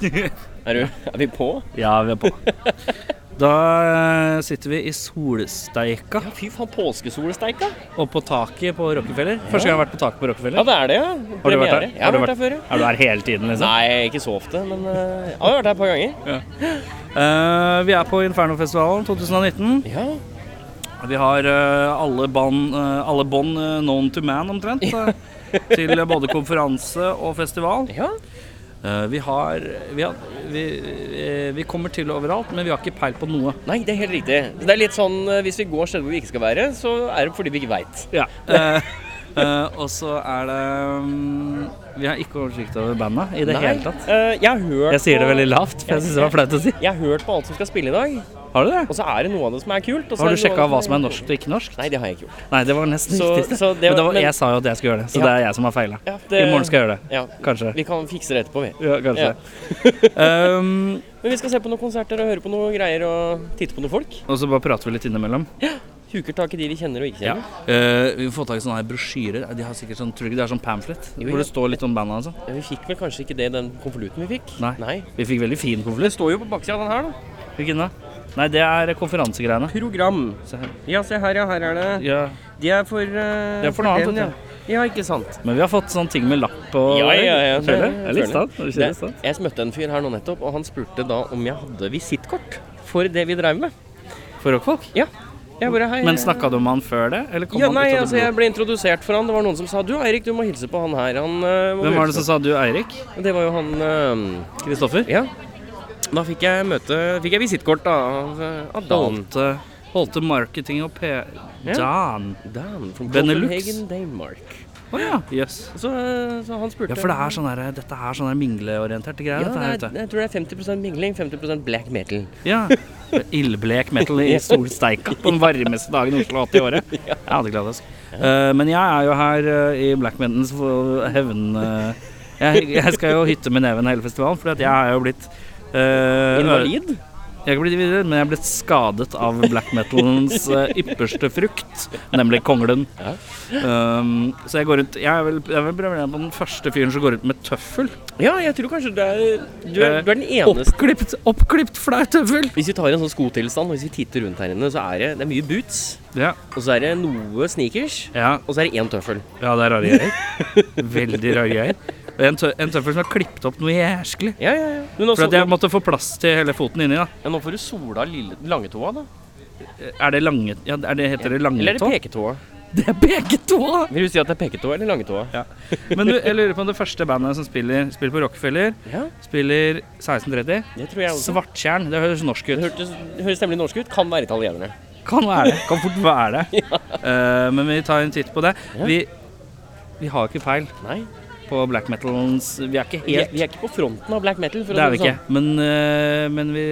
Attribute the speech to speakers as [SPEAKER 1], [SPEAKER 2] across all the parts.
[SPEAKER 1] Er, du, er vi på?
[SPEAKER 2] Ja, vi er på. Da eh, sitter vi i solsteika
[SPEAKER 1] Ja, fy faen, påskesolsteika!
[SPEAKER 2] og på taket på Rockefeller. Første gang jeg har vært på taket på
[SPEAKER 1] Ja,
[SPEAKER 2] Rockefeller.
[SPEAKER 1] det er det, ja.
[SPEAKER 2] Har du vært
[SPEAKER 1] Premiere.
[SPEAKER 2] der?
[SPEAKER 1] Jeg har vært der før, ja.
[SPEAKER 2] Er du her hele tiden, liksom?
[SPEAKER 1] Nei, ikke så ofte, men eh, jeg har vært der et par ganger.
[SPEAKER 2] Eh, vi er på Infernofestivalen 2019.
[SPEAKER 1] Ja,
[SPEAKER 2] Vi har eh, alle bånd eh, alle bånd, eh, known to man, omtrent. eh, til eh, både konferanse og festival.
[SPEAKER 1] ja.
[SPEAKER 2] Eh, vi har vi, har vi, eh, vi kommer til overalt, men vi har ikke peil på noe.
[SPEAKER 1] Nei, det er helt riktig. Det er litt sånn eh, hvis vi går steder hvor vi ikke skal være, så er det fordi vi ikke veit.
[SPEAKER 2] Ja. Eh, eh, og så er det mm, Vi har ikke oversikt over bandet i det hele tatt.
[SPEAKER 1] eh, jeg har hørt
[SPEAKER 2] Jeg sier det
[SPEAKER 1] på-
[SPEAKER 2] veldig lavt, for jeg syns det var flaut å si.
[SPEAKER 1] Jeg har hørt på alt som skal spille i dag,
[SPEAKER 2] Har du det?
[SPEAKER 1] og så er det noe av det som er kult. Og så
[SPEAKER 2] Har
[SPEAKER 1] er
[SPEAKER 2] du
[SPEAKER 1] det noe
[SPEAKER 2] sjekka
[SPEAKER 1] av
[SPEAKER 2] hva
[SPEAKER 1] det
[SPEAKER 2] som er norskt og ikke norskt?
[SPEAKER 1] Nei, det har jeg ikke gjort.
[SPEAKER 2] Nei, det var nesten
[SPEAKER 1] Så-
[SPEAKER 2] riktigste.
[SPEAKER 1] så det
[SPEAKER 2] men det
[SPEAKER 1] var-
[SPEAKER 2] var,
[SPEAKER 1] men-
[SPEAKER 2] jeg sa jo at jeg skulle gjøre det, så
[SPEAKER 1] Ja.
[SPEAKER 2] det er jeg som har feila.
[SPEAKER 1] Ja, det,
[SPEAKER 2] I morgen skal jeg gjøre det.
[SPEAKER 1] ja,
[SPEAKER 2] Kanskje.
[SPEAKER 1] Vi kan fikse det etterpå, vi.
[SPEAKER 2] Ja, kanskje. um,
[SPEAKER 1] Men vi skal se på noen konserter og høre på noe greier og titte på noen folk.
[SPEAKER 2] og så bare prater vi litt innimellom.
[SPEAKER 1] Huker tak i de vi kjenner og ikke
[SPEAKER 2] Ja.
[SPEAKER 1] kjenner.
[SPEAKER 2] Eh, vi får tak i sånne her brosjyrer. De har sikkert sånn, tror du ikke det er sånn pamflet?
[SPEAKER 1] Jo, ja.
[SPEAKER 2] Hvor det står litt om bandet og sånn.
[SPEAKER 1] Ja, Vi fikk vel kanskje ikke det i den konvolutten vi fikk?
[SPEAKER 2] Nei. Vi fikk veldig fin konvolutt.
[SPEAKER 1] Står jo på baksida av den her, da.
[SPEAKER 2] Hvilken da? Nei, det er konferansegreiene.
[SPEAKER 1] Program.
[SPEAKER 2] Se her.
[SPEAKER 1] Ja, se her, ja. Her er det.
[SPEAKER 2] Ja.
[SPEAKER 1] De er for eh,
[SPEAKER 2] Det er for noe annet,
[SPEAKER 1] den,
[SPEAKER 2] vet
[SPEAKER 1] ja. ja, ikke sant.
[SPEAKER 2] Men vi har fått sånne ting med lapp og
[SPEAKER 1] Ja, ja, ja.
[SPEAKER 2] Føler jeg. Det er litt
[SPEAKER 1] Føler
[SPEAKER 2] stas. Det er
[SPEAKER 1] Det,
[SPEAKER 2] litt stas.
[SPEAKER 1] jeg møtte en fyr her nå nettopp, og han spurte da om jeg hadde visittkort for det vi drev med.
[SPEAKER 2] For rockfolk.
[SPEAKER 1] Ja. Jeg bare, hei.
[SPEAKER 2] Men snakka du med han før det? Eller kom
[SPEAKER 1] ja,
[SPEAKER 2] sånn. han
[SPEAKER 1] nei,
[SPEAKER 2] ut av
[SPEAKER 1] altså,
[SPEAKER 2] det
[SPEAKER 1] jeg
[SPEAKER 2] blå?
[SPEAKER 1] ble introdusert for han. Det var noen som sa du Eirik, du må hilse på han her. Han, eh, må
[SPEAKER 2] Hvem
[SPEAKER 1] du
[SPEAKER 2] var det
[SPEAKER 1] hilse
[SPEAKER 2] som sa du, Eirik?
[SPEAKER 1] på." Det var jo han eh,
[SPEAKER 2] Kristoffer?
[SPEAKER 1] Ja. Da fikk jeg møte Fikk jeg visittkort da, av, eh, av Dan.
[SPEAKER 2] Holte, Holte marketing og P...
[SPEAKER 1] Ja.
[SPEAKER 2] Dan.
[SPEAKER 1] Dan fra
[SPEAKER 2] Benelux.
[SPEAKER 1] Copenhagen, Danmark.
[SPEAKER 2] Å ja. Jøss.
[SPEAKER 1] Så, eh, så han spurte
[SPEAKER 2] Ja, for det er sånn her, dette er sånn her mingleorienterte greier.
[SPEAKER 1] Ja,
[SPEAKER 2] dette her,
[SPEAKER 1] det er,
[SPEAKER 2] vet du.
[SPEAKER 1] jeg tror det er 50 mingling, 50 black metal.
[SPEAKER 2] Ja. Ildblek metal i solsteika på den varmeste dagen i Oslo har hatt i året. Jeg hadde gleda meg. men jeg er jo her eh, i Black Mountains for hevn... eh, jeg, jeg skal jo hytte med neven hele festivalen, for jeg er jo blitt eh,
[SPEAKER 1] Invalid?
[SPEAKER 2] Jeg er ikke blitt videre, men jeg er blitt skadet av black metalens eh, ypperste frukt, nemlig konglen.
[SPEAKER 1] Ja.
[SPEAKER 2] Um, så jeg går rundt Jeg er vel, jeg er vel premieren på den første fyren som går rundt med tøffel.
[SPEAKER 1] Ja, jeg tror kanskje du er Du er,
[SPEAKER 2] Eh,
[SPEAKER 1] du er den eneste
[SPEAKER 2] Oppklipt, oppklipt flau tøffel!
[SPEAKER 1] Hvis vi tar en sånn skotilstand og hvis vi titter rundt her inne, så er det, det er mye boots,
[SPEAKER 2] Ja,
[SPEAKER 1] og så er det noe sneakers,
[SPEAKER 2] ja,
[SPEAKER 1] og så er det én tøffel.
[SPEAKER 2] ja det er rare greier. Veldig rare greier. Og en, tø en tøffel som har klippet opp noe jæsklig.
[SPEAKER 1] Ja, ja, ja. Men
[SPEAKER 2] For
[SPEAKER 1] også,
[SPEAKER 2] at jeg måtte få plass til hele foten inni, da.
[SPEAKER 1] ja, nå får du sola lille, langetåa, da.
[SPEAKER 2] Er det lange... Ja, er det, heter det
[SPEAKER 1] Eller er det
[SPEAKER 2] langetå?
[SPEAKER 1] peketåa?
[SPEAKER 2] Det er peketåa!
[SPEAKER 1] Vil du si at det er peketåa eller langetåa?
[SPEAKER 2] Men du, jeg lurer på om det første bandet som spiller, spiller på Rockefeller,
[SPEAKER 1] Ja,
[SPEAKER 2] spiller 1630.
[SPEAKER 1] det tror jeg også.
[SPEAKER 2] Svarttjern. Det høres norsk
[SPEAKER 1] Det
[SPEAKER 2] ut.
[SPEAKER 1] hørtes, det høres temmelig norsk ut. Kan være italienere.
[SPEAKER 2] Kan være det. Kan fort være det. Eh, men vi tar en titt på det.
[SPEAKER 1] Ja.
[SPEAKER 2] Vi, vi har ikke peil
[SPEAKER 1] Nei.
[SPEAKER 2] på black metalens Vi er ikke
[SPEAKER 1] Vi er,
[SPEAKER 2] helt
[SPEAKER 1] vi er ikke på fronten av black metal. For
[SPEAKER 2] Det er
[SPEAKER 1] å
[SPEAKER 2] vi
[SPEAKER 1] si det
[SPEAKER 2] ikke. Men, eh, men vi,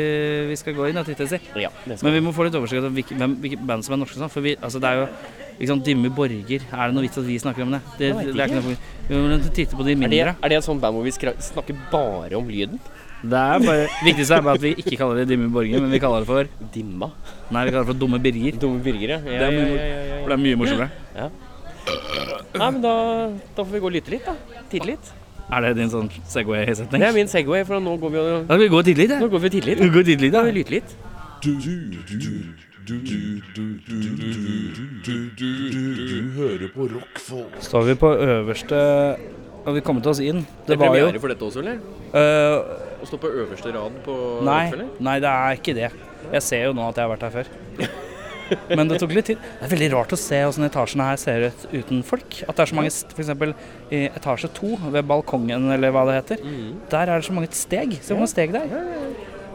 [SPEAKER 2] vi skal gå inn og titte, si.
[SPEAKER 1] sånn. Ja, det skal.
[SPEAKER 2] Men vi må få litt oversikt over hvilke, hvem- hvilke band som er norske. Sånn. For vi, altså, det er jo ikke sant, Dimmu Borger. Er det noe vits at vi snakker om det? Det,
[SPEAKER 1] Jeg vet
[SPEAKER 2] det er
[SPEAKER 1] ikke.
[SPEAKER 2] ikke noe for- Vi må titte på
[SPEAKER 1] er,
[SPEAKER 2] de
[SPEAKER 1] det,
[SPEAKER 2] mindre.
[SPEAKER 1] er det et sånt band hvor vi skra- snakker bare om lyden?
[SPEAKER 2] Det er bare, viktigste er bare at vi ikke kaller det Dimmu Borger, men vi kaller det for
[SPEAKER 1] Dimma.
[SPEAKER 2] Nei, vi kaller det for Dumme Birger.
[SPEAKER 1] Dumme burgere. Ja,
[SPEAKER 2] Det er mye
[SPEAKER 1] ja, ja, ja,
[SPEAKER 2] For
[SPEAKER 1] ja.
[SPEAKER 2] det er mye morsommere.
[SPEAKER 1] Nei, men da, da får vi gå og lytte litt, da. Titte litt.
[SPEAKER 2] Er det din sånn Segway-setning?
[SPEAKER 1] Det er min Segway, for nå går vi og
[SPEAKER 2] Da skal vi gå tidlig, det.
[SPEAKER 1] Nå går vi og titter litt.
[SPEAKER 2] Vi går tidlig, da.
[SPEAKER 1] Vi lyter litt.
[SPEAKER 3] Du, du, du, du, du, du, du, du, du, du, du hører på rockfolk.
[SPEAKER 2] Står vi på øverste og vi kommet oss inn. Det
[SPEAKER 1] er
[SPEAKER 2] var jo
[SPEAKER 1] premiere for dette også, eller?
[SPEAKER 2] øh,
[SPEAKER 1] Å stå på øverste rad på
[SPEAKER 2] nei,
[SPEAKER 1] Rockefeller?
[SPEAKER 2] nei, det er ikke det. Jeg ser jo nå at jeg har vært her før. Men det tok litt tid. Det er veldig rart å se hvordan etasjene her ser ut uten folk. At det er så mange st- for eksempel i etasje to, ved balkongen eller hva det heter, der er det så mange steg. Se hvor mange steg det er.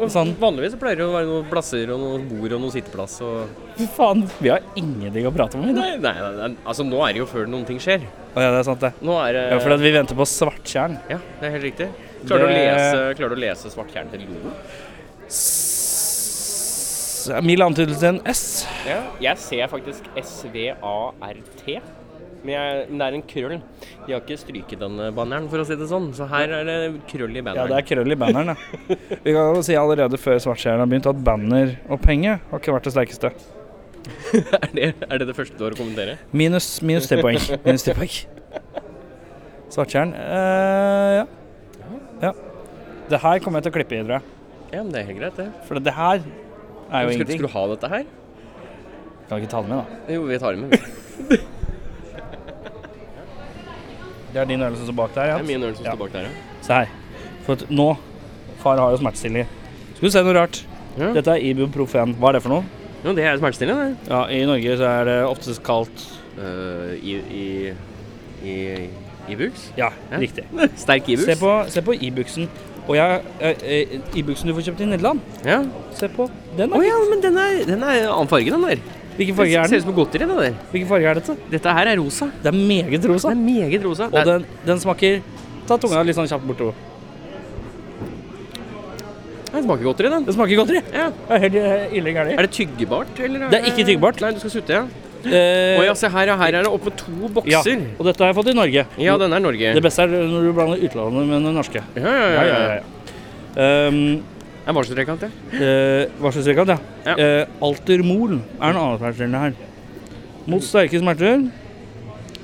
[SPEAKER 1] Og
[SPEAKER 2] Sånn.
[SPEAKER 1] Vanligvis så pleier det å være noen plasser og noen bord og noen sitteplass og
[SPEAKER 2] Fy faen, vi har ingenting å prate om i dag.
[SPEAKER 1] nei, nei, nei, nei, altså nå er det jo før noen ting skjer.
[SPEAKER 2] Å ja, det er sant, det.
[SPEAKER 1] Nå er det
[SPEAKER 2] Ja, for at vi venter på Svarttjern.
[SPEAKER 1] Ja, det er helt riktig. Klarer du å
[SPEAKER 2] Det-
[SPEAKER 1] lese, klarer du å lese Svartkjern til logoen?
[SPEAKER 2] S- Mild antydelse til en S.
[SPEAKER 1] Ja. Jeg ser faktisk SVART. Men, jeg, men det er en krøll. De har ikke stryket denne banneren, for å si det sånn. Så her er det krøll i
[SPEAKER 2] Ja, det
[SPEAKER 1] banneren.
[SPEAKER 2] er krøll i banneren, ja. Vi kan jo si allerede før Svartskjæren har begynt at banner og penge har ikke vært det sterkeste.
[SPEAKER 1] er, det, er det det første du har å kommentere?
[SPEAKER 2] Minus, minus tre poeng. Minus tre poeng. Svartskjæren eh, ja. ja. Det her kommer jeg til å klippe i, tror jeg.
[SPEAKER 1] Ja, men det er helt greit, det.
[SPEAKER 2] For det her er jo
[SPEAKER 1] Skal, skal
[SPEAKER 2] ingenting.
[SPEAKER 1] du ha dette her?
[SPEAKER 2] Kan ikke ta det med, da.
[SPEAKER 1] Jo, vi tar det med. vi.
[SPEAKER 2] Det er din øvelse som står bak der,
[SPEAKER 1] Det er
[SPEAKER 2] ja.
[SPEAKER 1] min øl som
[SPEAKER 2] Ja.
[SPEAKER 1] står bak der, ja.
[SPEAKER 2] Se her. For at nå Far har jo smertestillende. Skal du se noe rart.
[SPEAKER 1] Ja.
[SPEAKER 2] Dette er Ibuprofen. Hva er det for noe?
[SPEAKER 1] Jo, det er smertestillende, det.
[SPEAKER 2] Ja, I Norge så er det oftest kalt
[SPEAKER 1] Eh, I i i Ibux?
[SPEAKER 2] Ja,
[SPEAKER 1] Ja.
[SPEAKER 2] riktig.
[SPEAKER 1] Sterk Ibux?
[SPEAKER 2] Se på, se på Ibuxen. Og jeg, eh, eh, Ibuxen du får kjøpt i Nederland,
[SPEAKER 1] Ja.
[SPEAKER 2] se på den.
[SPEAKER 1] Å
[SPEAKER 2] da.
[SPEAKER 1] ja, men den er, den er annen farge, den der.
[SPEAKER 2] Hvilken farge er
[SPEAKER 1] Ser ut
[SPEAKER 2] den?
[SPEAKER 1] som godteri, den der.
[SPEAKER 2] Hvilken farge er dette?
[SPEAKER 1] Dette her er rosa.
[SPEAKER 2] Det er meget rosa.
[SPEAKER 1] Den er meget rosa.
[SPEAKER 2] Og den, den smaker Ta tunga litt sånn kjapt bortover.
[SPEAKER 1] den smaker godteri, den.
[SPEAKER 2] Det smaker godteri.
[SPEAKER 1] Ja.
[SPEAKER 2] Det er helt eh, ille gærent.
[SPEAKER 1] Er det tyggebart, eller?
[SPEAKER 2] Det er ikke tyggbart.
[SPEAKER 1] Nei, du skal sutte, ja. Å
[SPEAKER 2] Eh,
[SPEAKER 1] ja, se her, ja. Her er det oppå to
[SPEAKER 2] ja.
[SPEAKER 1] bokser.
[SPEAKER 2] Og dette har jeg fått i Norge.
[SPEAKER 1] Ja, den er Norge.
[SPEAKER 2] Det beste er når du blander utlandet med den norske.
[SPEAKER 1] Ja, ja, ja. ja, ja.
[SPEAKER 2] Um,
[SPEAKER 1] Det er varseltrekant, ja.
[SPEAKER 2] eh, hva slags rekant, ja.
[SPEAKER 1] Ja.
[SPEAKER 2] Eh, Altermol er en annen smertestillende her. Mot sterke smerter.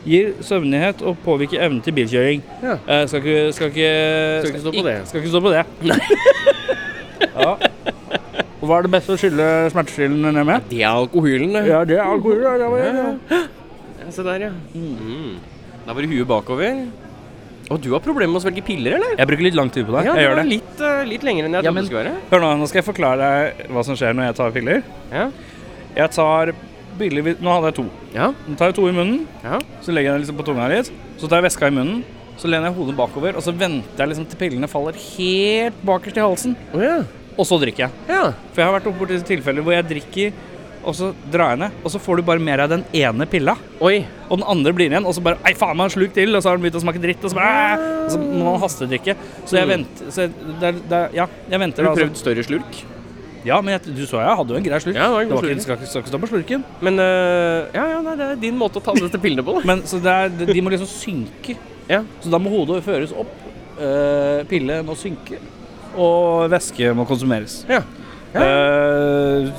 [SPEAKER 2] Gir søvnighet og påvirker evnen til bilkjøring.
[SPEAKER 1] Ja.
[SPEAKER 2] Eh, skal ikke Skal ikke,
[SPEAKER 1] Skal ikke stå på
[SPEAKER 2] ikk-
[SPEAKER 1] det.
[SPEAKER 2] Skal ikke stå på det. ja. Og hva er det beste å skylle smertestillende ned med?
[SPEAKER 1] Det er alkohylen, det.
[SPEAKER 2] Ja, det er alkohol. ja, det var det, ja.
[SPEAKER 1] Ja, Se der, ja. Mm. Da var det huet bakover. Og du har problemer med å svelge piller, eller?
[SPEAKER 2] Jeg bruker litt lang tid på det.
[SPEAKER 1] Ja,
[SPEAKER 2] jeg
[SPEAKER 1] det
[SPEAKER 2] gjør
[SPEAKER 1] var
[SPEAKER 2] det.
[SPEAKER 1] litt, eh, litt lenger enn jeg
[SPEAKER 2] Ja,
[SPEAKER 1] trodde
[SPEAKER 2] men-
[SPEAKER 1] det skulle være.
[SPEAKER 2] Hør nå, nå skal jeg forklare deg hva som skjer når jeg tar piller.
[SPEAKER 1] Ja.
[SPEAKER 2] Jeg tar piller vi- Nå hadde jeg to.
[SPEAKER 1] Ja.
[SPEAKER 2] Nå tar jeg to i munnen.
[SPEAKER 1] ja.
[SPEAKER 2] Så legger jeg den liksom på tunga litt. Så tar jeg veska i munnen. Så lener jeg hodet bakover, og så venter jeg liksom til pillene faller helt bakerst i halsen.
[SPEAKER 1] Å ja.
[SPEAKER 2] Og så drikker jeg.
[SPEAKER 1] Ja.
[SPEAKER 2] For jeg har vært oppe borti tilfeller hvor jeg drikker, og så drar jeg ned. Og så får du bare mer av den ene pilla,
[SPEAKER 1] Oi.
[SPEAKER 2] og den andre blir igjen. Og så bare Ei, faen meg, sluk til! Og så har den begynt å smake dritt, og så bare «Æ!» Og så må man hastedrikke. Så jeg
[SPEAKER 1] Mm.
[SPEAKER 2] venter så jeg- det er, det er, Ja, jeg venter.
[SPEAKER 1] Har du
[SPEAKER 2] da,
[SPEAKER 1] prøvd større slurk?
[SPEAKER 2] altså. Ja, men jeg, du så jeg hadde jo en grei slurk.
[SPEAKER 1] Ja, det var en god
[SPEAKER 2] ikke,
[SPEAKER 1] slurk.
[SPEAKER 2] skal, ikke- skal ikke stå på slurken.
[SPEAKER 1] Men eh, ja, ja, nei, det er din måte å ta dette pillene på, da.
[SPEAKER 2] Men så det er, de må liksom synke.
[SPEAKER 1] Ja.
[SPEAKER 2] Så da må hodet føres opp, eh, pille må synke, og væske må konsumeres.
[SPEAKER 1] Ja.
[SPEAKER 2] Eh,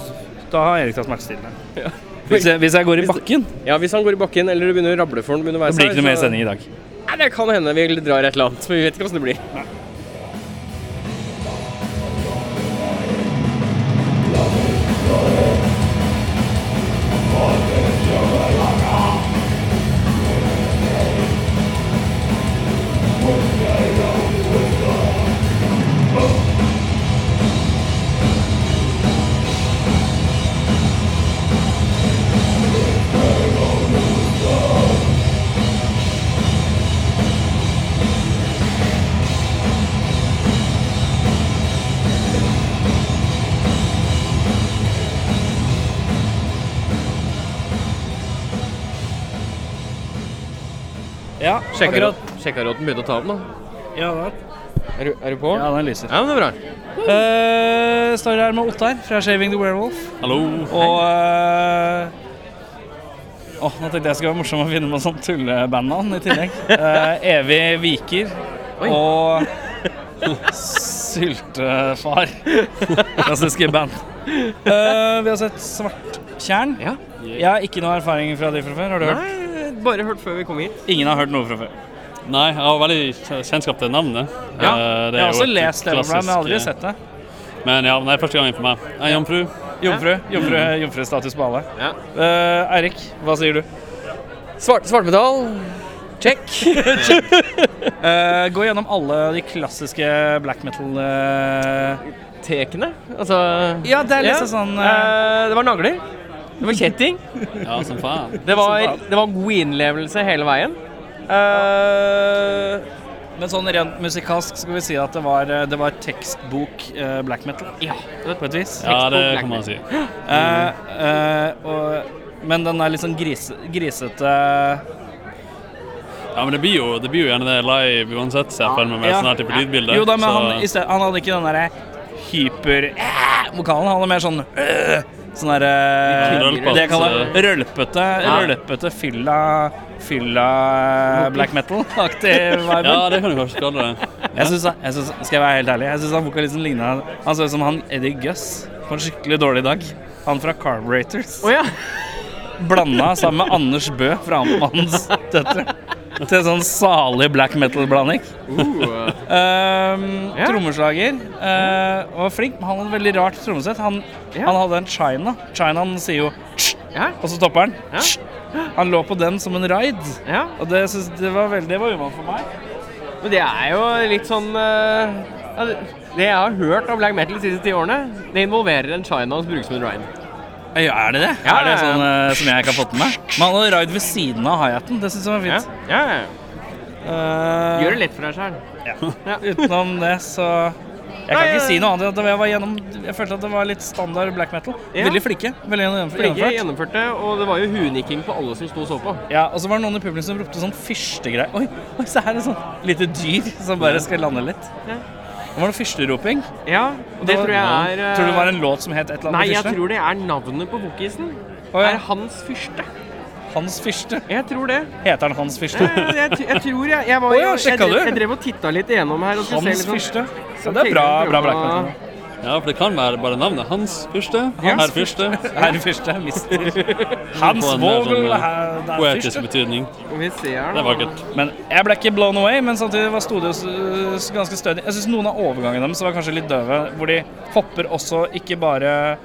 [SPEAKER 2] da har Erik tatt smertestillende.
[SPEAKER 1] Ja.
[SPEAKER 2] Hvis, jeg- hvis jeg går
[SPEAKER 1] Hvis
[SPEAKER 2] i bakken,
[SPEAKER 1] ja, hvis han går i bakken eller det begynner å rable for ham
[SPEAKER 2] det
[SPEAKER 1] underveis
[SPEAKER 2] blir ikke noe mer
[SPEAKER 1] så-
[SPEAKER 2] sending i dag.
[SPEAKER 1] Nei, det kan hende vi drar et eller annet, men vi vet ikke hvordan det blir.
[SPEAKER 2] Ja,
[SPEAKER 1] Sjekker
[SPEAKER 2] akkurat.
[SPEAKER 1] at sjekker at den begynte å ta opp nå.
[SPEAKER 2] Ja, da.
[SPEAKER 1] Er du, er du på?
[SPEAKER 2] ja, den lyser.
[SPEAKER 1] Ja, men det er bra.
[SPEAKER 2] Eh, står her med Ottar fra Shaving the Werewolf.
[SPEAKER 1] Hallo.
[SPEAKER 2] Og eh, åh, nå tenkte jeg skulle være morsom å finne på sånn tullebandnavn i tillegg. Eh, evig viker
[SPEAKER 1] Oi.
[SPEAKER 2] og syltefar. Klassiske band. Eh, vi har sett Svarttjern.
[SPEAKER 1] Ja.
[SPEAKER 2] Jeg har ikke noe erfaring fra de fra før. Har du hørt?
[SPEAKER 1] Nei, bare hørt før vi kom hit.
[SPEAKER 2] Ingen har hørt noe fra før.
[SPEAKER 4] Nei, jeg har veldig kj- kjennskap til navnet.
[SPEAKER 2] Ja,
[SPEAKER 4] Eh, det
[SPEAKER 2] jeg
[SPEAKER 4] er
[SPEAKER 2] har
[SPEAKER 4] jo
[SPEAKER 2] også
[SPEAKER 4] et
[SPEAKER 2] lest det, men jeg har aldri
[SPEAKER 4] klassisk,
[SPEAKER 2] sett det.
[SPEAKER 4] eh, Men ja, det er første gangen for meg. Jeg er jomfru.
[SPEAKER 2] Jomfru. Jomfru jomfrustatus på alle.
[SPEAKER 1] Ja.
[SPEAKER 2] Eh, Eirik, hva sier du?
[SPEAKER 1] Svart, svartmetall. Check.
[SPEAKER 2] Eh, gå gjennom alle de klassiske black metal eh,
[SPEAKER 1] Tekene. Altså
[SPEAKER 2] Ja, det er litt sånn eh,
[SPEAKER 1] Eh, Det var nagler. Det var kjetting.
[SPEAKER 4] Ja, som faen.
[SPEAKER 1] Det var, det var god innlevelse hele veien. Eh,
[SPEAKER 2] Men sånn rent musikalsk skal vi si at det var, eh, det var tekstbok eh, black metal. Ja, på et vis.
[SPEAKER 4] Ja, det kan man si.
[SPEAKER 2] Eh, eh, og, men den er litt sånn grise, grisete
[SPEAKER 4] Ja, men det blir jo, det blir jo gjerne det live uansett, ser jeg for meg med
[SPEAKER 2] Ja.
[SPEAKER 4] sånn her type lydbilde.
[SPEAKER 2] Jo da, men
[SPEAKER 4] så-
[SPEAKER 2] eh, han, i sted, han hadde ikke den derre hyper-vokalen. Han hadde mer sånn øh, Sånn derre
[SPEAKER 4] Rølpete.
[SPEAKER 2] Det jeg kaller rølpete, rølpete fylla Fylla black metal-aktig vibe.
[SPEAKER 4] Ja, det kan du kanskje kalle det.
[SPEAKER 2] Jeg synes, han- jeg synes, skal jeg være helt ærlig, jeg syns han vokalisten ligna Han så ut som han Eddie Guss på en skikkelig dårlig dag. Han fra Carburetors.
[SPEAKER 5] Å ja.
[SPEAKER 2] Blanda sammen med Anders Bø fra Amtmannens døtre. Til en sånn salig black metal-blanding.
[SPEAKER 1] Uh,
[SPEAKER 2] Ehm,
[SPEAKER 5] Ja.
[SPEAKER 2] Trommeslager. eh, var flink, men han hadde veldig rart trommesett. Han,
[SPEAKER 5] Ja.
[SPEAKER 2] han hadde en china. Chinaen sier jo tsk,
[SPEAKER 5] Ja.
[SPEAKER 2] og så stopper han.
[SPEAKER 5] Ja.
[SPEAKER 2] Tsk. Han lå på den som en ride.
[SPEAKER 5] ja.
[SPEAKER 2] Og det, synes, det var veldig det var uvant for meg.
[SPEAKER 5] Men det er jo litt sånn eh, ja,
[SPEAKER 1] altså,
[SPEAKER 5] Det jeg har hørt av black metal de siste ti årene, det involverer en china som brukes som en ride.
[SPEAKER 2] Ja, er det det?
[SPEAKER 5] Ja,
[SPEAKER 2] er det
[SPEAKER 5] ja, ja.
[SPEAKER 2] sånn eh, som jeg ikke har fått med meg? Men han hadde ride ved siden av hi-haten. Det syns jeg var
[SPEAKER 5] Ja.
[SPEAKER 2] fint.
[SPEAKER 5] Ja. ja.
[SPEAKER 2] Eh,
[SPEAKER 5] Gjør det lett for deg sjøl.
[SPEAKER 2] Utenom det, så Jeg kan
[SPEAKER 5] Nei,
[SPEAKER 2] ikke
[SPEAKER 5] ja,
[SPEAKER 2] si
[SPEAKER 5] ja.
[SPEAKER 2] noe annet. enn at Jeg, var gjennom, jeg følte at det var litt standard black metal.
[SPEAKER 5] Ja.
[SPEAKER 2] Veldig flinke. Veldig gjennom-
[SPEAKER 5] Flinke
[SPEAKER 2] gjennomført.
[SPEAKER 5] gjennomførte, og det var jo hunikking på alle som sto og så på.
[SPEAKER 2] Ja, og så var det noen i publikum som ropte sånn fyrstegreier. Oi, oi, se her, et sånt lite dyr som bare skal lande litt.
[SPEAKER 5] Ja.
[SPEAKER 2] Det var noe fyrsteroping.
[SPEAKER 5] Ja, det tror jeg er eh,
[SPEAKER 2] Tror du det var en låt som het et eller
[SPEAKER 5] Nei,
[SPEAKER 2] annet
[SPEAKER 5] jeg
[SPEAKER 2] fyrste?
[SPEAKER 5] tror det er navnet på vokisen.
[SPEAKER 2] Å, ja.
[SPEAKER 5] Er Hans Fyrste.
[SPEAKER 2] Hans Fyrste.
[SPEAKER 5] Jeg tror det.
[SPEAKER 2] Heter han Hans Fyrste?
[SPEAKER 5] Jeg, Eh, jeg, jeg tror jeg Jeg, var,
[SPEAKER 2] Å, ja,
[SPEAKER 5] jeg, jeg,
[SPEAKER 2] sjekka du?
[SPEAKER 5] drev- jeg drev og titta litt igjennom her. Og skulle
[SPEAKER 2] Hans
[SPEAKER 5] se litt sånn-
[SPEAKER 2] Fyrste.
[SPEAKER 5] så
[SPEAKER 2] Ja, det er bra,
[SPEAKER 5] tenkte jeg
[SPEAKER 2] bra
[SPEAKER 5] prøve
[SPEAKER 2] black
[SPEAKER 5] å-
[SPEAKER 2] metal.
[SPEAKER 4] Ja, for det kan være bare navnet. Hans første. Herr første.
[SPEAKER 2] Herr Fyrste, mister Hans
[SPEAKER 4] På en mer sånn,
[SPEAKER 2] Vogel,
[SPEAKER 4] eh,
[SPEAKER 2] herr det er
[SPEAKER 4] Poetisk
[SPEAKER 2] Fyrste.
[SPEAKER 4] betydning.
[SPEAKER 5] Skal vi se her,
[SPEAKER 4] Det
[SPEAKER 5] da.
[SPEAKER 4] er vakkert.
[SPEAKER 2] Men jeg ble ikke blown away, men samtidig var studio s- ganske stødig. Jeg syns noen av overgangene deres var kanskje litt døve, hvor de hopper også ikke bare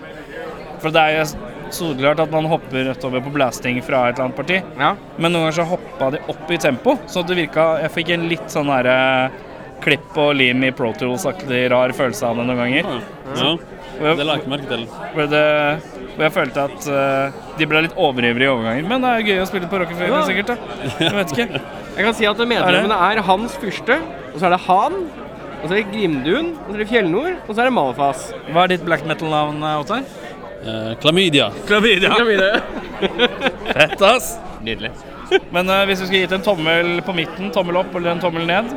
[SPEAKER 2] For det er jo soleklart at man hopper rett over på blasting fra et eller annet parti,
[SPEAKER 5] Ja.
[SPEAKER 2] men noen ganger så hoppa de opp i tempo, så det virka Jeg fikk en litt sånn derre klipp og lim i Pro Tools-aktig rar følelse av det noen ganger.
[SPEAKER 4] Ja,
[SPEAKER 2] Hvor
[SPEAKER 4] det la
[SPEAKER 2] jeg,
[SPEAKER 4] jeg ikke merke til.
[SPEAKER 2] hvor det, hvor jeg følte at eh, de ble litt overivrige i overganger. Men det er jo gøy å spille på Rockefeller,
[SPEAKER 5] Ja.
[SPEAKER 2] sikkert. da. Jeg vet ikke.
[SPEAKER 5] Jeg kan si at medlemmene er Hans Fyrste, og så er det Han, og så er det Grimdun, og så er det Fjellnord, og så er det Malfas.
[SPEAKER 2] Hva er ditt black metal-navn, Ottar?
[SPEAKER 4] Eh, Klamydia.
[SPEAKER 2] Klamydia.
[SPEAKER 5] Skal vi det?
[SPEAKER 2] Fett, ass.
[SPEAKER 5] Nydelig.
[SPEAKER 2] Men eh, hvis du skulle gitt en tommel på midten, tommel opp eller en tommel ned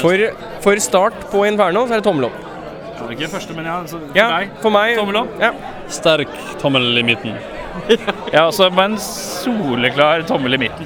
[SPEAKER 1] For, for start på Inferno så er det tommel opp.
[SPEAKER 2] Det var ikke første, men ja. Så, for
[SPEAKER 1] Ja,
[SPEAKER 2] deg.
[SPEAKER 1] for meg
[SPEAKER 2] Tommel opp?
[SPEAKER 1] Ja.
[SPEAKER 4] Sterk tommel i midten.
[SPEAKER 2] Ja, også med en soleklar tommel i midten.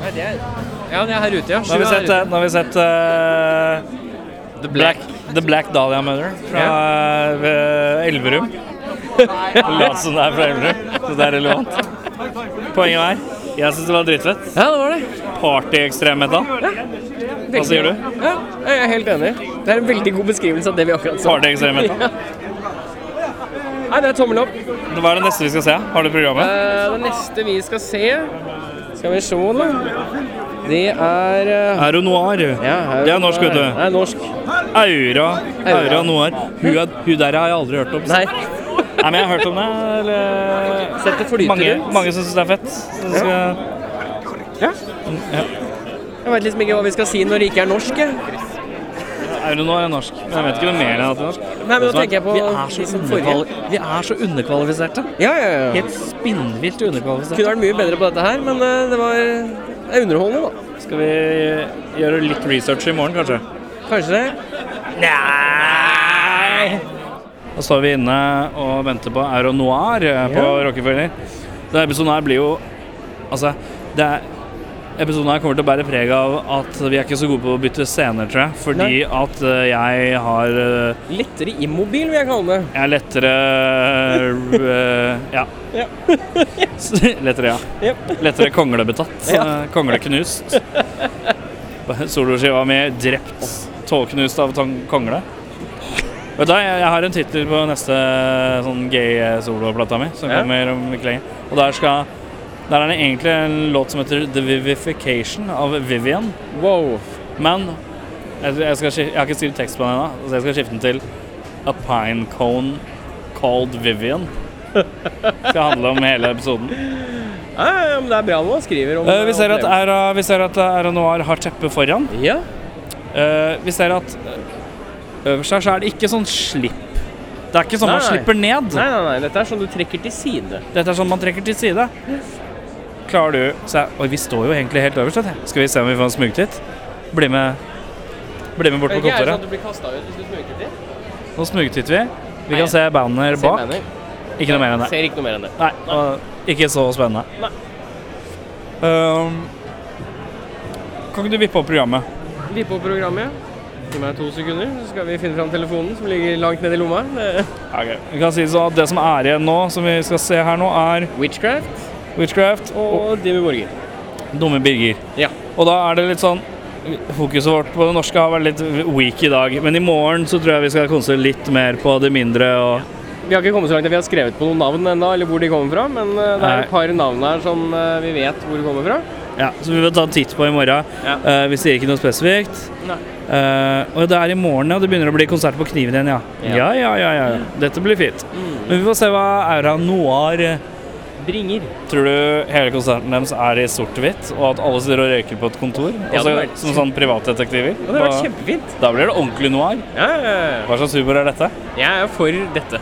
[SPEAKER 5] Nei, det er, ja, det er her ute, ja.
[SPEAKER 2] Nå har vi sett, eh, nå har vi sett eh,
[SPEAKER 5] The
[SPEAKER 2] Black, The Black Dahlia Murder fra eh, Elverum. Lat som det er fra Elverum, så det er relevant. Poenget er jeg syns det var dritfett.
[SPEAKER 1] Ja, det var det.
[SPEAKER 2] Party-ekstrem metal. Hva sier du?
[SPEAKER 1] Ja, jeg er helt enig. Det er en veldig god beskrivelse av det vi akkurat sa.
[SPEAKER 2] Party-ekstrem metal.
[SPEAKER 1] Nei, det er tommel opp.
[SPEAKER 2] Hva er det neste vi skal se? Har du programmet?
[SPEAKER 1] Eh, det neste vi skal se Skal vi se, da. Det er eh,
[SPEAKER 2] Auro Noir.
[SPEAKER 1] ja,
[SPEAKER 2] det er norsk, vet
[SPEAKER 1] Det
[SPEAKER 2] du.
[SPEAKER 1] er norsk.
[SPEAKER 2] Aura, Aura Noir. Hun, er, hun der har jeg aldri hørt om.
[SPEAKER 1] Nei.
[SPEAKER 2] Nei, men jeg har hørt om det. Eller...
[SPEAKER 1] Sett det flyter
[SPEAKER 2] Mange,
[SPEAKER 1] rundt.
[SPEAKER 2] mange syns det er fett. Så skal...
[SPEAKER 1] Jeg veit liksom ikke hva vi skal si når det ikke er norsk. Jeg.
[SPEAKER 2] Aura Noir er norsk. Men jeg vet ikke noe mer enn at det er norsk.
[SPEAKER 1] Nei, men da
[SPEAKER 2] Det som er-
[SPEAKER 1] tenker jeg på
[SPEAKER 2] Vi er så,
[SPEAKER 1] de som forrige.
[SPEAKER 2] underkval- vi er så underkvalifiserte.
[SPEAKER 1] Ja, ja, ja.
[SPEAKER 2] Helt spinnvilt
[SPEAKER 1] Kunne
[SPEAKER 2] underkvalifiserte.
[SPEAKER 1] vært mye bedre på dette her, men eh, det var det er underholdende, da.
[SPEAKER 2] Skal vi gjøre litt research i morgen, kanskje?
[SPEAKER 1] Kanskje det.
[SPEAKER 2] Nei! Da står vi inne og venter på Aero Noir eh, på Rockefeller. Denne episoden her blir jo Altså, det er episoden her kommer til å bære preg av at vi er ikke så gode på å bytte scener, tror jeg. Fordi at eh, jeg har eh,
[SPEAKER 1] Lettere immobil, vil jeg kalle det.
[SPEAKER 2] Jeg er lettere eh, Ja.
[SPEAKER 1] Ja.
[SPEAKER 2] lettere, ja. Lettere konglebetatt.
[SPEAKER 1] Ja.
[SPEAKER 2] eh, Kongleknust. Soloskiva mi drept. Tålknust av tang- kongle. Vet du, hva, jeg, jeg har en tittel på neste sånn gay soloplata mi, som
[SPEAKER 1] Ja.
[SPEAKER 2] kommer om ikke lenge. Og der skal Der er det egentlig en låt som heter The Vivification av Vivian.
[SPEAKER 1] Wow.
[SPEAKER 2] Men jeg, jeg, skal, skif- jeg har ikke skrevet tekst på den ennå, så jeg skal skifte den til A Pine Cone Called Vivian. Det skal handle om hele episoden.
[SPEAKER 1] Ja, ja, ja, men det er bra når man skriver om
[SPEAKER 2] Eh, vi, ser at
[SPEAKER 1] opplevelser.
[SPEAKER 2] Aira, vi ser at Aira Noir har teppet foran.
[SPEAKER 1] Ja.
[SPEAKER 2] Eh, vi ser at eh, øverst her så er det ikke sånn slipp. Det er ikke sånn man
[SPEAKER 1] Nei.
[SPEAKER 2] slipper ned.
[SPEAKER 1] Nei, nei, nei. Dette er sånn du trekker til side.
[SPEAKER 2] Dette er sånn man trekker til side. Klarer du se Oi, vi står jo egentlig helt øverst. vet du. Skal vi se om vi får en smugtitt? Bli med, bli med bort på kontoret.
[SPEAKER 1] sånn du blir kasta ut hvis du smøker til?
[SPEAKER 2] Nå smugtitter vi. Vi
[SPEAKER 1] Nei.
[SPEAKER 2] kan se banner bak. Ikke noe mer enn det.
[SPEAKER 1] Ser ikke noe mer enn det.
[SPEAKER 2] Nei, og ikke så spennende.
[SPEAKER 1] Nei.
[SPEAKER 2] Ehm, kan ikke du vippe opp programmet?
[SPEAKER 1] Vi på programmet. Gi meg to sekunder, så skal vi finne fram telefonen som ligger langt nede i lomma. Det-
[SPEAKER 2] Vi kan si sånn at Det som er igjen nå, som vi skal se her nå, er
[SPEAKER 1] Witchcraft
[SPEAKER 2] Witchcraft og
[SPEAKER 1] og Dimmy Borger.
[SPEAKER 2] Dumme Birger.
[SPEAKER 1] Ja.
[SPEAKER 2] Og da er det litt sånn Fokuset vårt på det norske har vært litt weak i dag, men i morgen så tror jeg vi skal konse litt mer på det mindre og
[SPEAKER 1] Vi har ikke kommet så langt at vi har skrevet på noen navn ennå, eller hvor de kommer fra, men eh, det er
[SPEAKER 2] Nei.
[SPEAKER 1] et par navn her som eh, vi vet hvor de kommer fra.
[SPEAKER 2] Ja, så vi vil ta en titt på i morgen.
[SPEAKER 1] Ja.
[SPEAKER 2] Eh, vi sier ikke noe spesifikt.
[SPEAKER 1] Nei.
[SPEAKER 2] Eh, og det er i morgen, ja. Det begynner å bli konsert på Kniven igjen, ja.
[SPEAKER 1] Ja.
[SPEAKER 2] Ja, ja, ja. ja, Dette blir fint. Men vi får se hva Aura Noir eh,
[SPEAKER 1] Bringer.
[SPEAKER 2] Tror du hele konserten deres er i sort-hvitt, og at alle sitter og røyker på et kontor?
[SPEAKER 1] Ja, det
[SPEAKER 2] altså,
[SPEAKER 1] hadde vært
[SPEAKER 2] som sånn privatdetektiver?
[SPEAKER 1] Og det har vært
[SPEAKER 2] Og-
[SPEAKER 1] kjempefint.
[SPEAKER 2] Da blir det ordentlig noir.
[SPEAKER 1] Ja, ja, ja.
[SPEAKER 2] Hva slags humor er dette?
[SPEAKER 1] Jeg er for dette.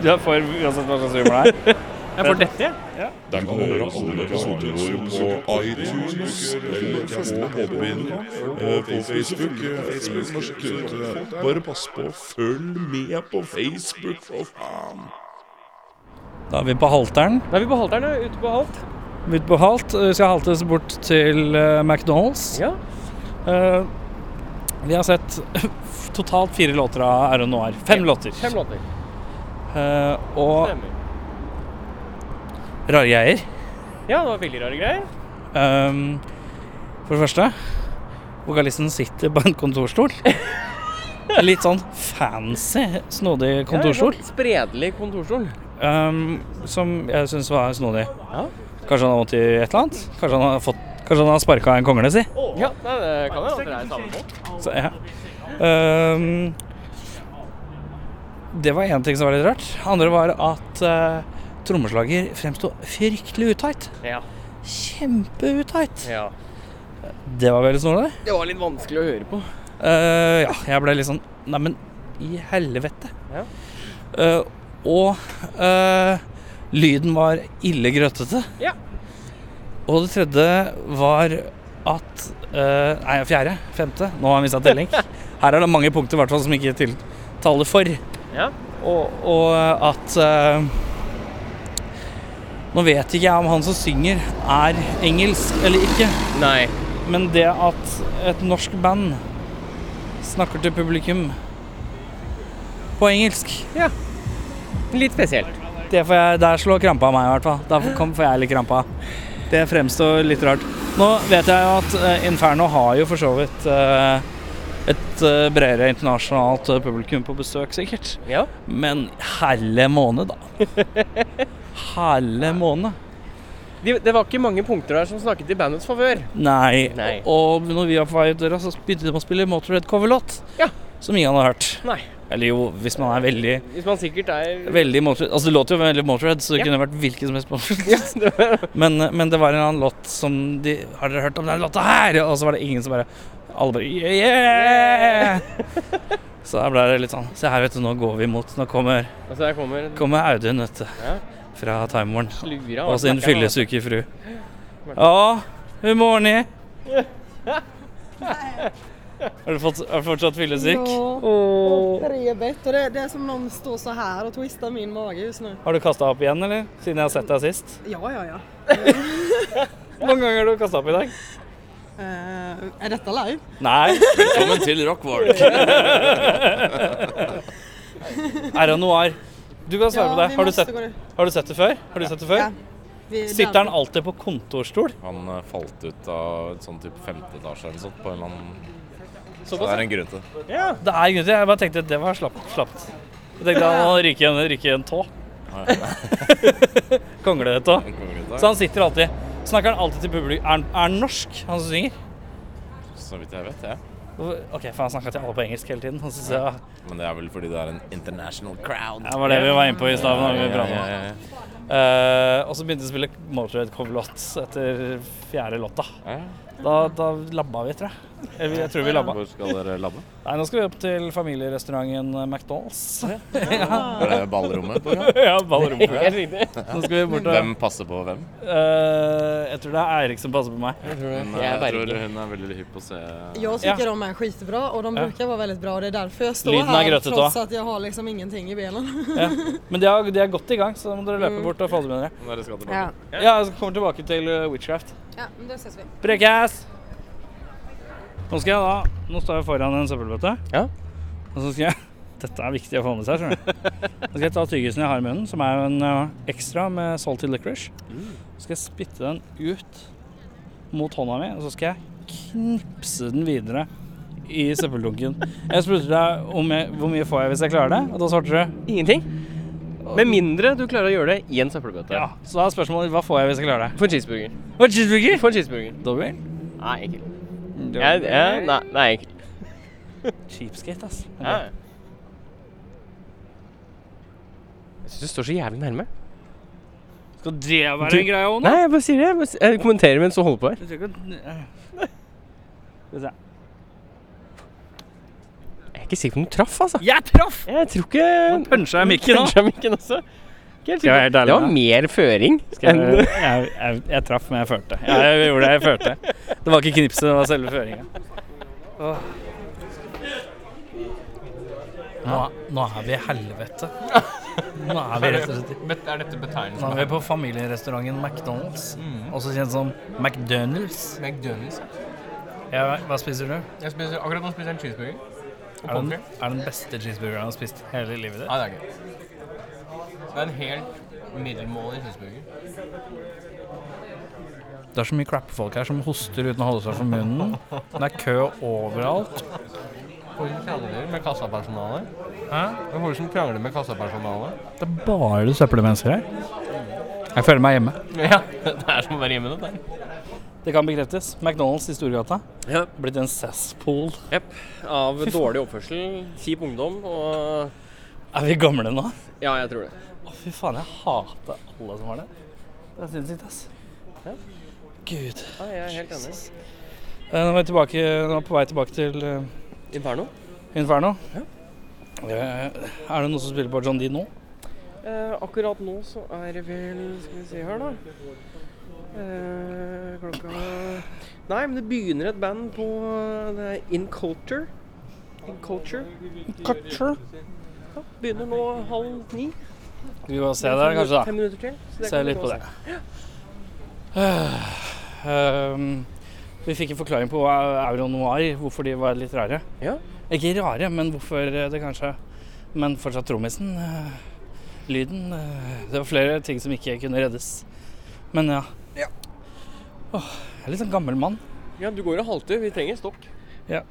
[SPEAKER 2] Du er for uansett hva slags humor det er.
[SPEAKER 1] Jeg er for dette, jeg.
[SPEAKER 3] Du kan høre alle episodene våre på iTunes eller på Podbean, eh, på Facebook. eh, Facebook norsk Kulturkvote. Bare pass på, følg med på Facebook, for faen!
[SPEAKER 2] Da er vi på halteren.
[SPEAKER 1] Da er vi på halteren, ja. Ute på halt.
[SPEAKER 2] Ute på halt. eh, Skal haltes bort til eh, McDonald's.
[SPEAKER 1] Ja.
[SPEAKER 2] Eh, vi har sett totalt fire låter av Aron Noir. Fem låter.
[SPEAKER 1] Fem låter.
[SPEAKER 2] Eh, og
[SPEAKER 1] Stemmer.
[SPEAKER 2] rare greier.
[SPEAKER 1] Ja, det var veldig rare greier.
[SPEAKER 2] Um, for det første Vokalisten sitter på en kontorstol. En Litt sånn fancy, snodig kontorstol.
[SPEAKER 1] Ja, sånn Spredelig kontorstol.
[SPEAKER 2] Um, som jeg syns var snodig.
[SPEAKER 1] Ja.
[SPEAKER 2] Kanskje han har vondt i et eller annet? Kanskje han har, fått, kanskje han har sparka en kongle, si?
[SPEAKER 1] Ja, nei, det kan jo at det er samme folk.
[SPEAKER 2] Så, ja. Ehm, det var én ting som var litt rart. Andre var at uh, trommeslager fremsto fryktelig utight.
[SPEAKER 1] Ja.
[SPEAKER 2] Kjempeutight.
[SPEAKER 1] ja.
[SPEAKER 2] Det var veldig snodig.
[SPEAKER 1] Det var litt vanskelig å høre på.
[SPEAKER 2] Eh, ja, jeg ble litt sånn Nei, men i helvete.
[SPEAKER 1] Ja.
[SPEAKER 2] Eh, og eh, lyden var ille grøtete.
[SPEAKER 1] Ja.
[SPEAKER 2] Og det tredje var at eh, Nei, fjerde? Femte? Nå har jeg mista telling. Her er det mange punkter i hvert fall som ikke tiltaler for.
[SPEAKER 1] Ja.
[SPEAKER 2] Og, og at eh, Nå vet ikke jeg om han som synger, er engelsk eller ikke.
[SPEAKER 1] Nei.
[SPEAKER 2] Men det at et norsk band snakker til publikum på engelsk,
[SPEAKER 1] Litt spesielt.
[SPEAKER 2] det får jeg, der slår krampa meg i hvert fall. Da kom- får jeg litt krampa. Det fremstår litt rart. Nå vet jeg jo at eh, Inferno har jo for så vidt eh, et eh, bredere internasjonalt eh, publikum på besøk, sikkert.
[SPEAKER 1] Ja.
[SPEAKER 2] Men helle måned, da. Helle måned.
[SPEAKER 1] De, det var ikke mange punkter der som snakket i bandets favør.
[SPEAKER 2] Nei.
[SPEAKER 1] Nei.
[SPEAKER 2] Og når vi var på vei ut døra, så begynte de å spille Motorhead coverlåt.
[SPEAKER 1] Ja.
[SPEAKER 2] Som ingen hadde hørt.
[SPEAKER 1] Nei.
[SPEAKER 2] Eller jo, hvis man er veldig,
[SPEAKER 1] Hvis man sikkert er
[SPEAKER 2] veldig Motorhead Altså, det låter jo veldig Motorhead, så det
[SPEAKER 1] Ja.
[SPEAKER 2] kunne vært hvilken som helst Motorhead.
[SPEAKER 1] Ja, det var-
[SPEAKER 2] Men, eh, men det var en annen låt som de Har dere hørt om den låta her? Og så var det ingen som bare Alle bare Yeah! yeah! så da ble det litt sånn Se her, vet du, nå går vi imot. Nå kommer,
[SPEAKER 1] Altså, der kommer
[SPEAKER 2] kommer Audun, vet du.
[SPEAKER 1] Ja.
[SPEAKER 2] Fra Time Warn.
[SPEAKER 1] slura
[SPEAKER 2] Og sin fyllesyke fru. Ja, hun Morni. Har du fått, er du fortsatt fyllesyk?
[SPEAKER 6] Ja,
[SPEAKER 2] Åh.
[SPEAKER 6] revet. Och det, det är som någon står så här och twistar min mage just nu.
[SPEAKER 2] Har du kasta opp igjen, eller? Siden jeg har sett deg sist?
[SPEAKER 6] Ja, ja, ja.
[SPEAKER 2] Hvor mange ganger har du kasta opp i dag?
[SPEAKER 6] Eh, er dette live?
[SPEAKER 2] Nei.
[SPEAKER 4] Velkommen til Rockwark.
[SPEAKER 2] Er det noir? Du kan svare på det.
[SPEAKER 6] vi
[SPEAKER 2] Har du,
[SPEAKER 6] måtte
[SPEAKER 2] sett,
[SPEAKER 6] gå det.
[SPEAKER 2] har du sett det før? Har du sett det før?
[SPEAKER 6] Ja. Vi-
[SPEAKER 2] Sitter han alltid på kontorstol?
[SPEAKER 7] Han eh, falt ut av sånn type femte etasje eller sånt på en eller annen Så det
[SPEAKER 2] Såpass,
[SPEAKER 7] er en grunn til det.
[SPEAKER 2] Ja, det er grunn til det. Jeg bare tenkte at det var slapt. slapt. Jeg tenkte at han ryker en, ryker en tå. Kongletå.
[SPEAKER 7] En kongelige dag,
[SPEAKER 2] Så han sitter alltid. Snakker han alltid til publikum? Er han- er han norsk, han som synger?
[SPEAKER 7] så vidt jeg vet. Ja.
[SPEAKER 2] Hvorfor- OK, for han snakka til alle på engelsk hele tiden. Og så sa jeg
[SPEAKER 7] Men det er vel fordi det er en international crowd.
[SPEAKER 2] Det var det vi var inne på i stad. når vi pratet om det.
[SPEAKER 7] ja, ja, ja.
[SPEAKER 2] Eh, og så begynte vi å spille Motorhead coverlåt etter fjerde låta.
[SPEAKER 7] Ja.
[SPEAKER 2] Da, da labba vi, tror jeg. Eller jeg tror vi labba.
[SPEAKER 7] Hvor skal dere labbe?
[SPEAKER 2] Nei, nå skal vi opp til familierestauranten McDonald's.
[SPEAKER 7] Er det ballrommet på gang?
[SPEAKER 2] ja, ballrommet. Helt riktig. Nå skal vi bort og
[SPEAKER 7] Hvem passer på hvem?
[SPEAKER 2] Eh, jeg tror det er Eirik som passer på meg.
[SPEAKER 7] Men, eh,
[SPEAKER 1] Jeg
[SPEAKER 7] jeg
[SPEAKER 1] berger.
[SPEAKER 7] tror hun er veldig hypp på å se
[SPEAKER 6] Jag tycker de är skitbra och de brukar vara väldigt bra. Det är därför jag står
[SPEAKER 2] Lyden är
[SPEAKER 6] här
[SPEAKER 2] grötet,
[SPEAKER 6] trots
[SPEAKER 2] va?
[SPEAKER 6] att jag har liksom ingenting i benen.
[SPEAKER 2] Ja. Men de er, de er godt i gang, så da må dere løpe
[SPEAKER 7] Mm.
[SPEAKER 2] bort og få det med dere.
[SPEAKER 7] når dere skal tilbake.
[SPEAKER 6] Ja.
[SPEAKER 2] Ja, jeg kommer tilbake til eh, Witchcraft.
[SPEAKER 6] Ja, men då ses vi.
[SPEAKER 2] Prekes! Nå skal jeg da Nå står jeg foran en søppelbøtte.
[SPEAKER 1] Ja.
[SPEAKER 2] Og så skal jeg Dette er viktig å få med seg, skjønner du. Nå skal jeg ta tyggisen jeg har i munnen, som er jo en eh, ekstra med salty licorice. Så skal jeg spytte den ut mot hånda mi, og så skal jeg knipse den videre i søppeldunken. Jeg spurte deg om jeg, hvor mye får jeg hvis jeg klarer det, og da svarte du
[SPEAKER 1] Ingenting. Med mindre du klarer å gjøre det i en søppelbøtte.
[SPEAKER 2] ja. Så da er spørsmålet ditt, hva får jeg hvis jeg klarer det?
[SPEAKER 1] For en cheeseburger.
[SPEAKER 2] Og cheeseburger!
[SPEAKER 1] For en cheeseburger.
[SPEAKER 2] Dobbel?
[SPEAKER 1] Nei, ikke jeg, jeg, Nei, nei ikke.
[SPEAKER 2] Cheapskate, ass.
[SPEAKER 1] Jeg syns du står så jævlig nærme.
[SPEAKER 2] Skal det være
[SPEAKER 1] Du-
[SPEAKER 2] en greie òg, nå?
[SPEAKER 1] Nei, jeg bare sier det. Jeg, bare, s- jeg kommenterer mens du holder på her.
[SPEAKER 2] Jeg tror ikke at- Skal vi se.
[SPEAKER 1] Jeg er ikke sikker på om du traff, altså.
[SPEAKER 2] Jeg traff!
[SPEAKER 1] Jeg tror ikke
[SPEAKER 2] Punsja jeg mikken da?
[SPEAKER 1] Kanskje jeg mikken også. Ikke helt
[SPEAKER 2] Skal jeg
[SPEAKER 1] sikker.
[SPEAKER 2] være helt ærlig
[SPEAKER 1] Det var
[SPEAKER 2] med
[SPEAKER 1] mer føring
[SPEAKER 2] Jeg,
[SPEAKER 1] enn
[SPEAKER 2] jeg, jeg, jeg traff, men jeg følte. Jeg, jeg gjorde det jeg følte. Det var ikke knipset, det var selve føringa. Nå, nå er vi i helvete. Nå er vi rett og slett
[SPEAKER 5] Er dette betegnelsen?
[SPEAKER 2] Nå er vi på familierestauranten McDonald's, også kjent som McDonald's.
[SPEAKER 5] McDonald's.
[SPEAKER 2] Ja, hva spiser du?
[SPEAKER 5] Jeg spiser, akkurat nå spiser jeg en cheeseburger. Og
[SPEAKER 2] Er den,
[SPEAKER 5] pommes frites.
[SPEAKER 2] er den beste cheeseburgeren du har spist hele livet ditt?
[SPEAKER 5] Nei, det er ikke det. Det er en helt middelmålig cheeseburger.
[SPEAKER 2] Det er så mye crap-folk her som hoster uten å holde seg for munnen. Det er kø overalt.
[SPEAKER 5] Hvordan krangler dere med kassapersonalet?
[SPEAKER 2] Hæ?
[SPEAKER 5] Hvordan krangler dere med kassapersonalet?
[SPEAKER 2] Det er bare søppelmennesker her. Jeg føler meg hjemme.
[SPEAKER 5] Ja, det er som å være hjemme, det der.
[SPEAKER 2] Det kan bekreftes. McDonald's i Storgata.
[SPEAKER 1] Ja.
[SPEAKER 2] Blitt en cesspool.
[SPEAKER 1] Av dårlig oppførsel, kjip ungdom og
[SPEAKER 2] Er vi gamle nå?
[SPEAKER 1] Ja, jeg tror det.
[SPEAKER 2] Å, fy faen, jeg hater alle som var der. Det er sinnssykt, ass. Gud.
[SPEAKER 1] Ja, jeg er helt enig.
[SPEAKER 2] Eh, Nå er vi tilbake, nå er vi på vei tilbake til eh,
[SPEAKER 1] Inferno?
[SPEAKER 2] Inferno. Eh, Er det noen som spiller på John Dee nå?
[SPEAKER 1] Eh, akkurat nå så er det vel Skal vi se her, da. Eh, klokka Nei, men det begynner et band på eh, det er In Culture. In Culture.
[SPEAKER 2] Kanskje.
[SPEAKER 1] Ja, begynner nå halv ni.
[SPEAKER 2] Skal vi bare se der, kanskje, da.
[SPEAKER 1] Fem minutter til. så det
[SPEAKER 2] Se
[SPEAKER 1] kan vi
[SPEAKER 2] litt
[SPEAKER 1] gå
[SPEAKER 2] på
[SPEAKER 1] og
[SPEAKER 2] det. Ehm, vi fikk en forklaring på hva Euro Noir, hvorfor de var litt rare.
[SPEAKER 1] Ja.
[SPEAKER 2] Ikke rare, men hvorfor det kanskje Men fortsatt trommisen. eh, lyden. eh, det var flere ting som ikke kunne reddes. Men ja. Åh, jeg er litt sånn gammel mann.
[SPEAKER 1] se. Ja, du går og halter. Vi trenger stokk.
[SPEAKER 2] Jeg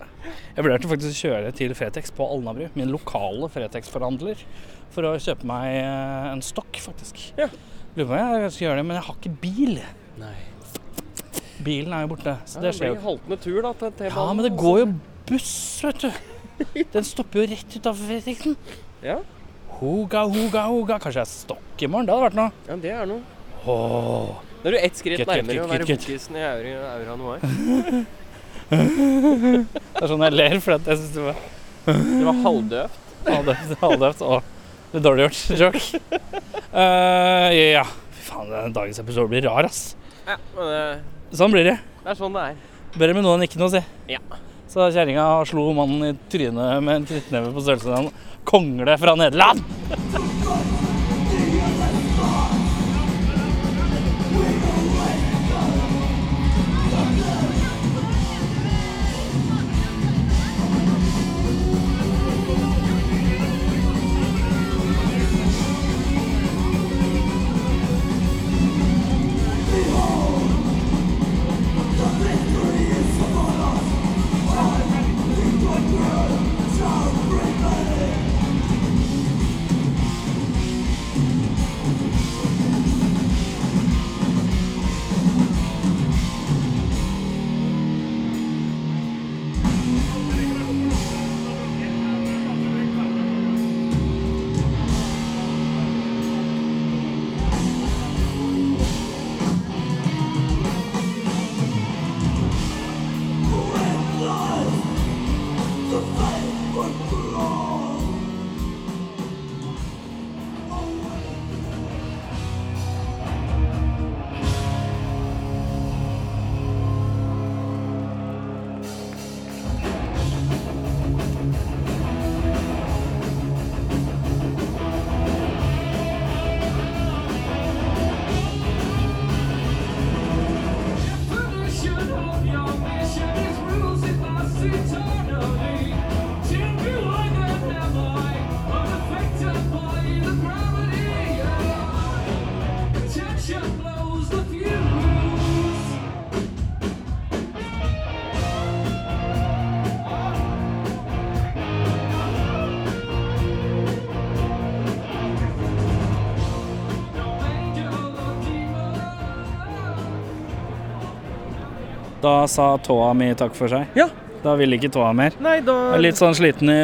[SPEAKER 2] vurderte faktisk å kjøre til Fretex på Alnabru, min lokale Fretex-forhandler, for å kjøpe meg eh, en stokk, faktisk.
[SPEAKER 1] Ja.
[SPEAKER 2] Lurer på om jeg skal gjøre det, men jeg har ikke bil.
[SPEAKER 1] Nei.
[SPEAKER 2] Bilen er jo borte, så
[SPEAKER 1] Ja,
[SPEAKER 2] det skjer jo.
[SPEAKER 1] blir haltende tur, da, til
[SPEAKER 2] Ja,
[SPEAKER 1] T-banen.
[SPEAKER 2] men det går jo
[SPEAKER 1] sånn.
[SPEAKER 2] buss, vet du. Den stopper jo rett utafor Fredriksen.
[SPEAKER 1] Ja.
[SPEAKER 2] Hoga, hoga, hoga. Kanskje jeg er stokk i morgen? Det hadde vært noe.
[SPEAKER 1] Ja, det er noe.
[SPEAKER 2] Åh.
[SPEAKER 1] Da er du ett skritt
[SPEAKER 2] Kutt, kutt,
[SPEAKER 1] nærmere å
[SPEAKER 2] kutt,
[SPEAKER 1] være
[SPEAKER 2] kutt.
[SPEAKER 1] bukkisen i Aura, aura eh. Noir.
[SPEAKER 2] Det er sånn jeg ler, for at jeg syns det var
[SPEAKER 1] Du var halvdøv.
[SPEAKER 2] halvdøvt- halvdøvt og litt dårlig gjort joke. Eh, ja. Fy faen, den dagens episode blir rar, ass.
[SPEAKER 1] Ja, men det,
[SPEAKER 2] Sånn blir det.
[SPEAKER 1] det er sånn det er.
[SPEAKER 2] Bedre med noe enn ikke noe, si.
[SPEAKER 1] Ja.
[SPEAKER 2] Så kjerringa slo mannen i trynet med en knyttneve på størrelse med en kongle fra Nederland. Da sa tåa mi takk for seg.
[SPEAKER 1] Ja.
[SPEAKER 2] Da ville ikke tåa mer.
[SPEAKER 1] Nei, da
[SPEAKER 2] Jeg er litt sånn sliten i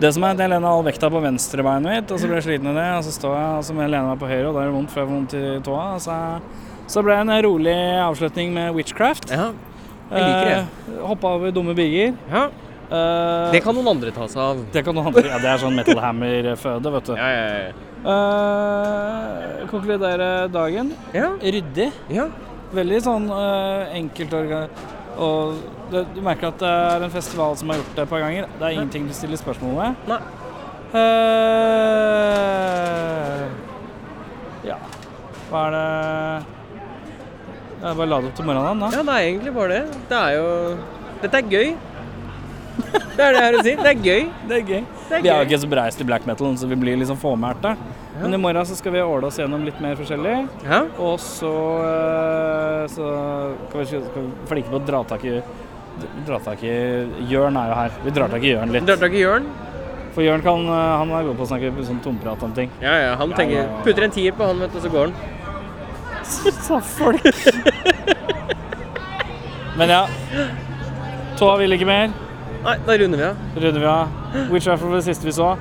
[SPEAKER 2] Det som er, at jeg lener all vekta på venstrebeinet mitt, og så blir jeg sliten i det, og så står jeg og så må jeg lene meg på høyre, og da er det vondt, for jeg får vondt i tåa. og Så, så ble det en rolig avslutning med witchcraft.
[SPEAKER 1] Ja, jeg liker det.
[SPEAKER 2] Eh, Hoppa over dumme biger.
[SPEAKER 1] Ja.
[SPEAKER 2] Eh,
[SPEAKER 1] Det kan noen andre ta seg av.
[SPEAKER 2] det kan noen andre. Ja, det er sånn Metal Hammer-føde, vet du.
[SPEAKER 1] Ja, ja,
[SPEAKER 2] Eh, konkludere dagen.
[SPEAKER 1] ja.
[SPEAKER 2] Ryddig.
[SPEAKER 1] ja.
[SPEAKER 2] Veldig sånn eh, enkelt orga- og det, Du merker at det er en festival som har gjort det et par ganger. Det er ingenting du stiller spørsmål ved.
[SPEAKER 1] Nei.
[SPEAKER 2] Eh, ja Hva er det Jeg bare lade opp til morgenen, da.
[SPEAKER 1] Ja, det er egentlig bare det. Det er jo Dette er gøy. Det er det jeg har å si. Det er gøy.
[SPEAKER 2] Det er gøy.
[SPEAKER 1] Det er
[SPEAKER 2] Vi er jo
[SPEAKER 1] gøy.
[SPEAKER 2] ikke så breist i black metal, så vi blir liksom fåmælte. Men i morgen så skal vi åle oss gjennom litt mer forskjellig.
[SPEAKER 1] Ja.
[SPEAKER 2] Og så, eh, så skal vi, skal vi flinke på å dra tak i Dra tak i Jørn er jo her. Vi drar tak i Jørn litt.
[SPEAKER 1] Dørtak i Jørn.
[SPEAKER 2] For Jørn kan, eh, han er god på å snakke sånn tomprat om ting.
[SPEAKER 1] Ja, ja. Han tenker
[SPEAKER 2] ja, ja.
[SPEAKER 1] Putter en tier på han, vet du, og så går han.
[SPEAKER 2] Sa folk. Men ja. Tåa vil ikke mer.
[SPEAKER 1] Nei, da runder vi av.
[SPEAKER 2] Rydder vi av. Witchcraft var det siste vi så.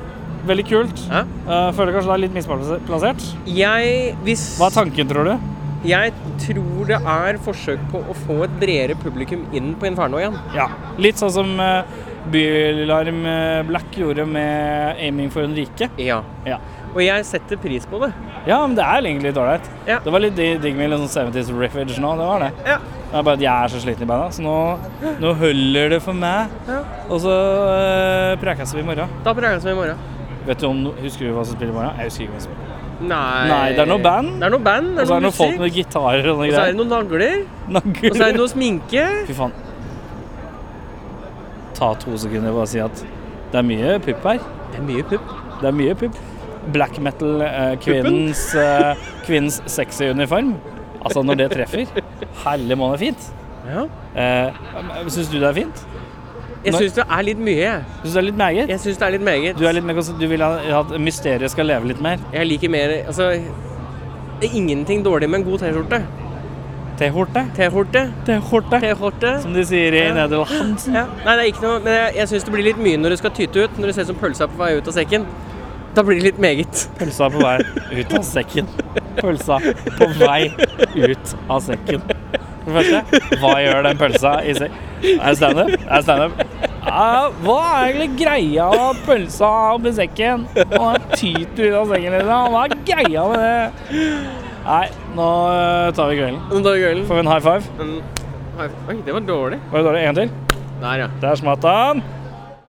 [SPEAKER 2] Veldig kult.
[SPEAKER 1] Ja.
[SPEAKER 2] Eh, Føler kanskje det er litt misplassert.
[SPEAKER 1] Jeg Hvis
[SPEAKER 2] Hva er tanken, tror du?
[SPEAKER 1] Jeg tror det er forsøk på å få et bredere publikum inn på Inferno igjen.
[SPEAKER 2] Ja. Litt sånn som eh, Bylarm eh, Black gjorde med 'Aiming for en rike'.
[SPEAKER 1] Ja.
[SPEAKER 2] Ja.
[SPEAKER 1] Og jeg setter pris på det.
[SPEAKER 2] Ja, men det er egentlig litt ålreit.
[SPEAKER 1] Ja.
[SPEAKER 2] Det var litt di- digg med litt sånn 70s riffage nå, det var det.
[SPEAKER 1] Ja.
[SPEAKER 2] Det er bare at jeg er så sliten i beina, så nå, nå holder det for meg.
[SPEAKER 1] Ja.
[SPEAKER 2] Og så øh, prekes vi i morgen.
[SPEAKER 1] Da prøver jeg som i morgen.
[SPEAKER 2] Vet du om, Husker du hva som spiller i morgen? Jeg husker ikke hvem som spiller.
[SPEAKER 1] Nei
[SPEAKER 2] Nei, det er noe band.
[SPEAKER 1] Det er noe band, det er
[SPEAKER 2] Og
[SPEAKER 1] noe
[SPEAKER 2] så er det noen
[SPEAKER 1] musikk.
[SPEAKER 2] folk med gitarer og sånne
[SPEAKER 1] Og så er det
[SPEAKER 2] greier.
[SPEAKER 1] noen nagler.
[SPEAKER 2] Nagler.
[SPEAKER 1] Og så er det noe sminke.
[SPEAKER 2] Fy faen. Ta to sekunder og bare si at det er mye pupp her.
[SPEAKER 1] Det er mye pupp.
[SPEAKER 2] Det er mye pupp. Black metal, eh, kvinnens, eh, kvinnens sexy uniform. Altså, når det treffer Herlig måned fint.
[SPEAKER 1] Ja.
[SPEAKER 2] Eh, syns du det er fint?
[SPEAKER 1] Jeg
[SPEAKER 2] Nei.
[SPEAKER 1] syns det er litt mye. jeg.
[SPEAKER 2] Syns du det er litt meget?
[SPEAKER 1] Jeg syns det er litt meget.
[SPEAKER 2] Du, er litt mer, kons- du vil ha- at mysteriet skal leve litt mer?
[SPEAKER 1] Jeg liker mer Altså, det er ingenting dårlig med en god T-skjorte.
[SPEAKER 2] T-horte?
[SPEAKER 1] T-skjorte.
[SPEAKER 2] T-horte,
[SPEAKER 1] T-skjorte.
[SPEAKER 2] som de sier i
[SPEAKER 1] Ja.
[SPEAKER 2] Nederland.
[SPEAKER 1] Ja. Nei, det er ikke noe Men jeg, jeg syns det blir litt mye når du skal tyte ut. Når du ser ut som pølsa på vei ut av sekken. Da blir det litt meget.
[SPEAKER 2] Pølsa på vei ut av sekken. Pølsa på vei ut av sekken. For det første, hva gjør den pølsa i sek... Er det standup? Er det standup? Ja, hva er egentlig greia med pølsa oppi sekken? Og den tyter ut av sekken, liksom. Hva er greia med det? Nei, nå eh, tar vi kvelden.
[SPEAKER 1] Nå tar vi kvelden.
[SPEAKER 2] Får vi en high five?
[SPEAKER 1] Men- Oi, det var dårlig.
[SPEAKER 2] Var det dårlig? En til?
[SPEAKER 1] Der, ja.
[SPEAKER 2] Der smatt han.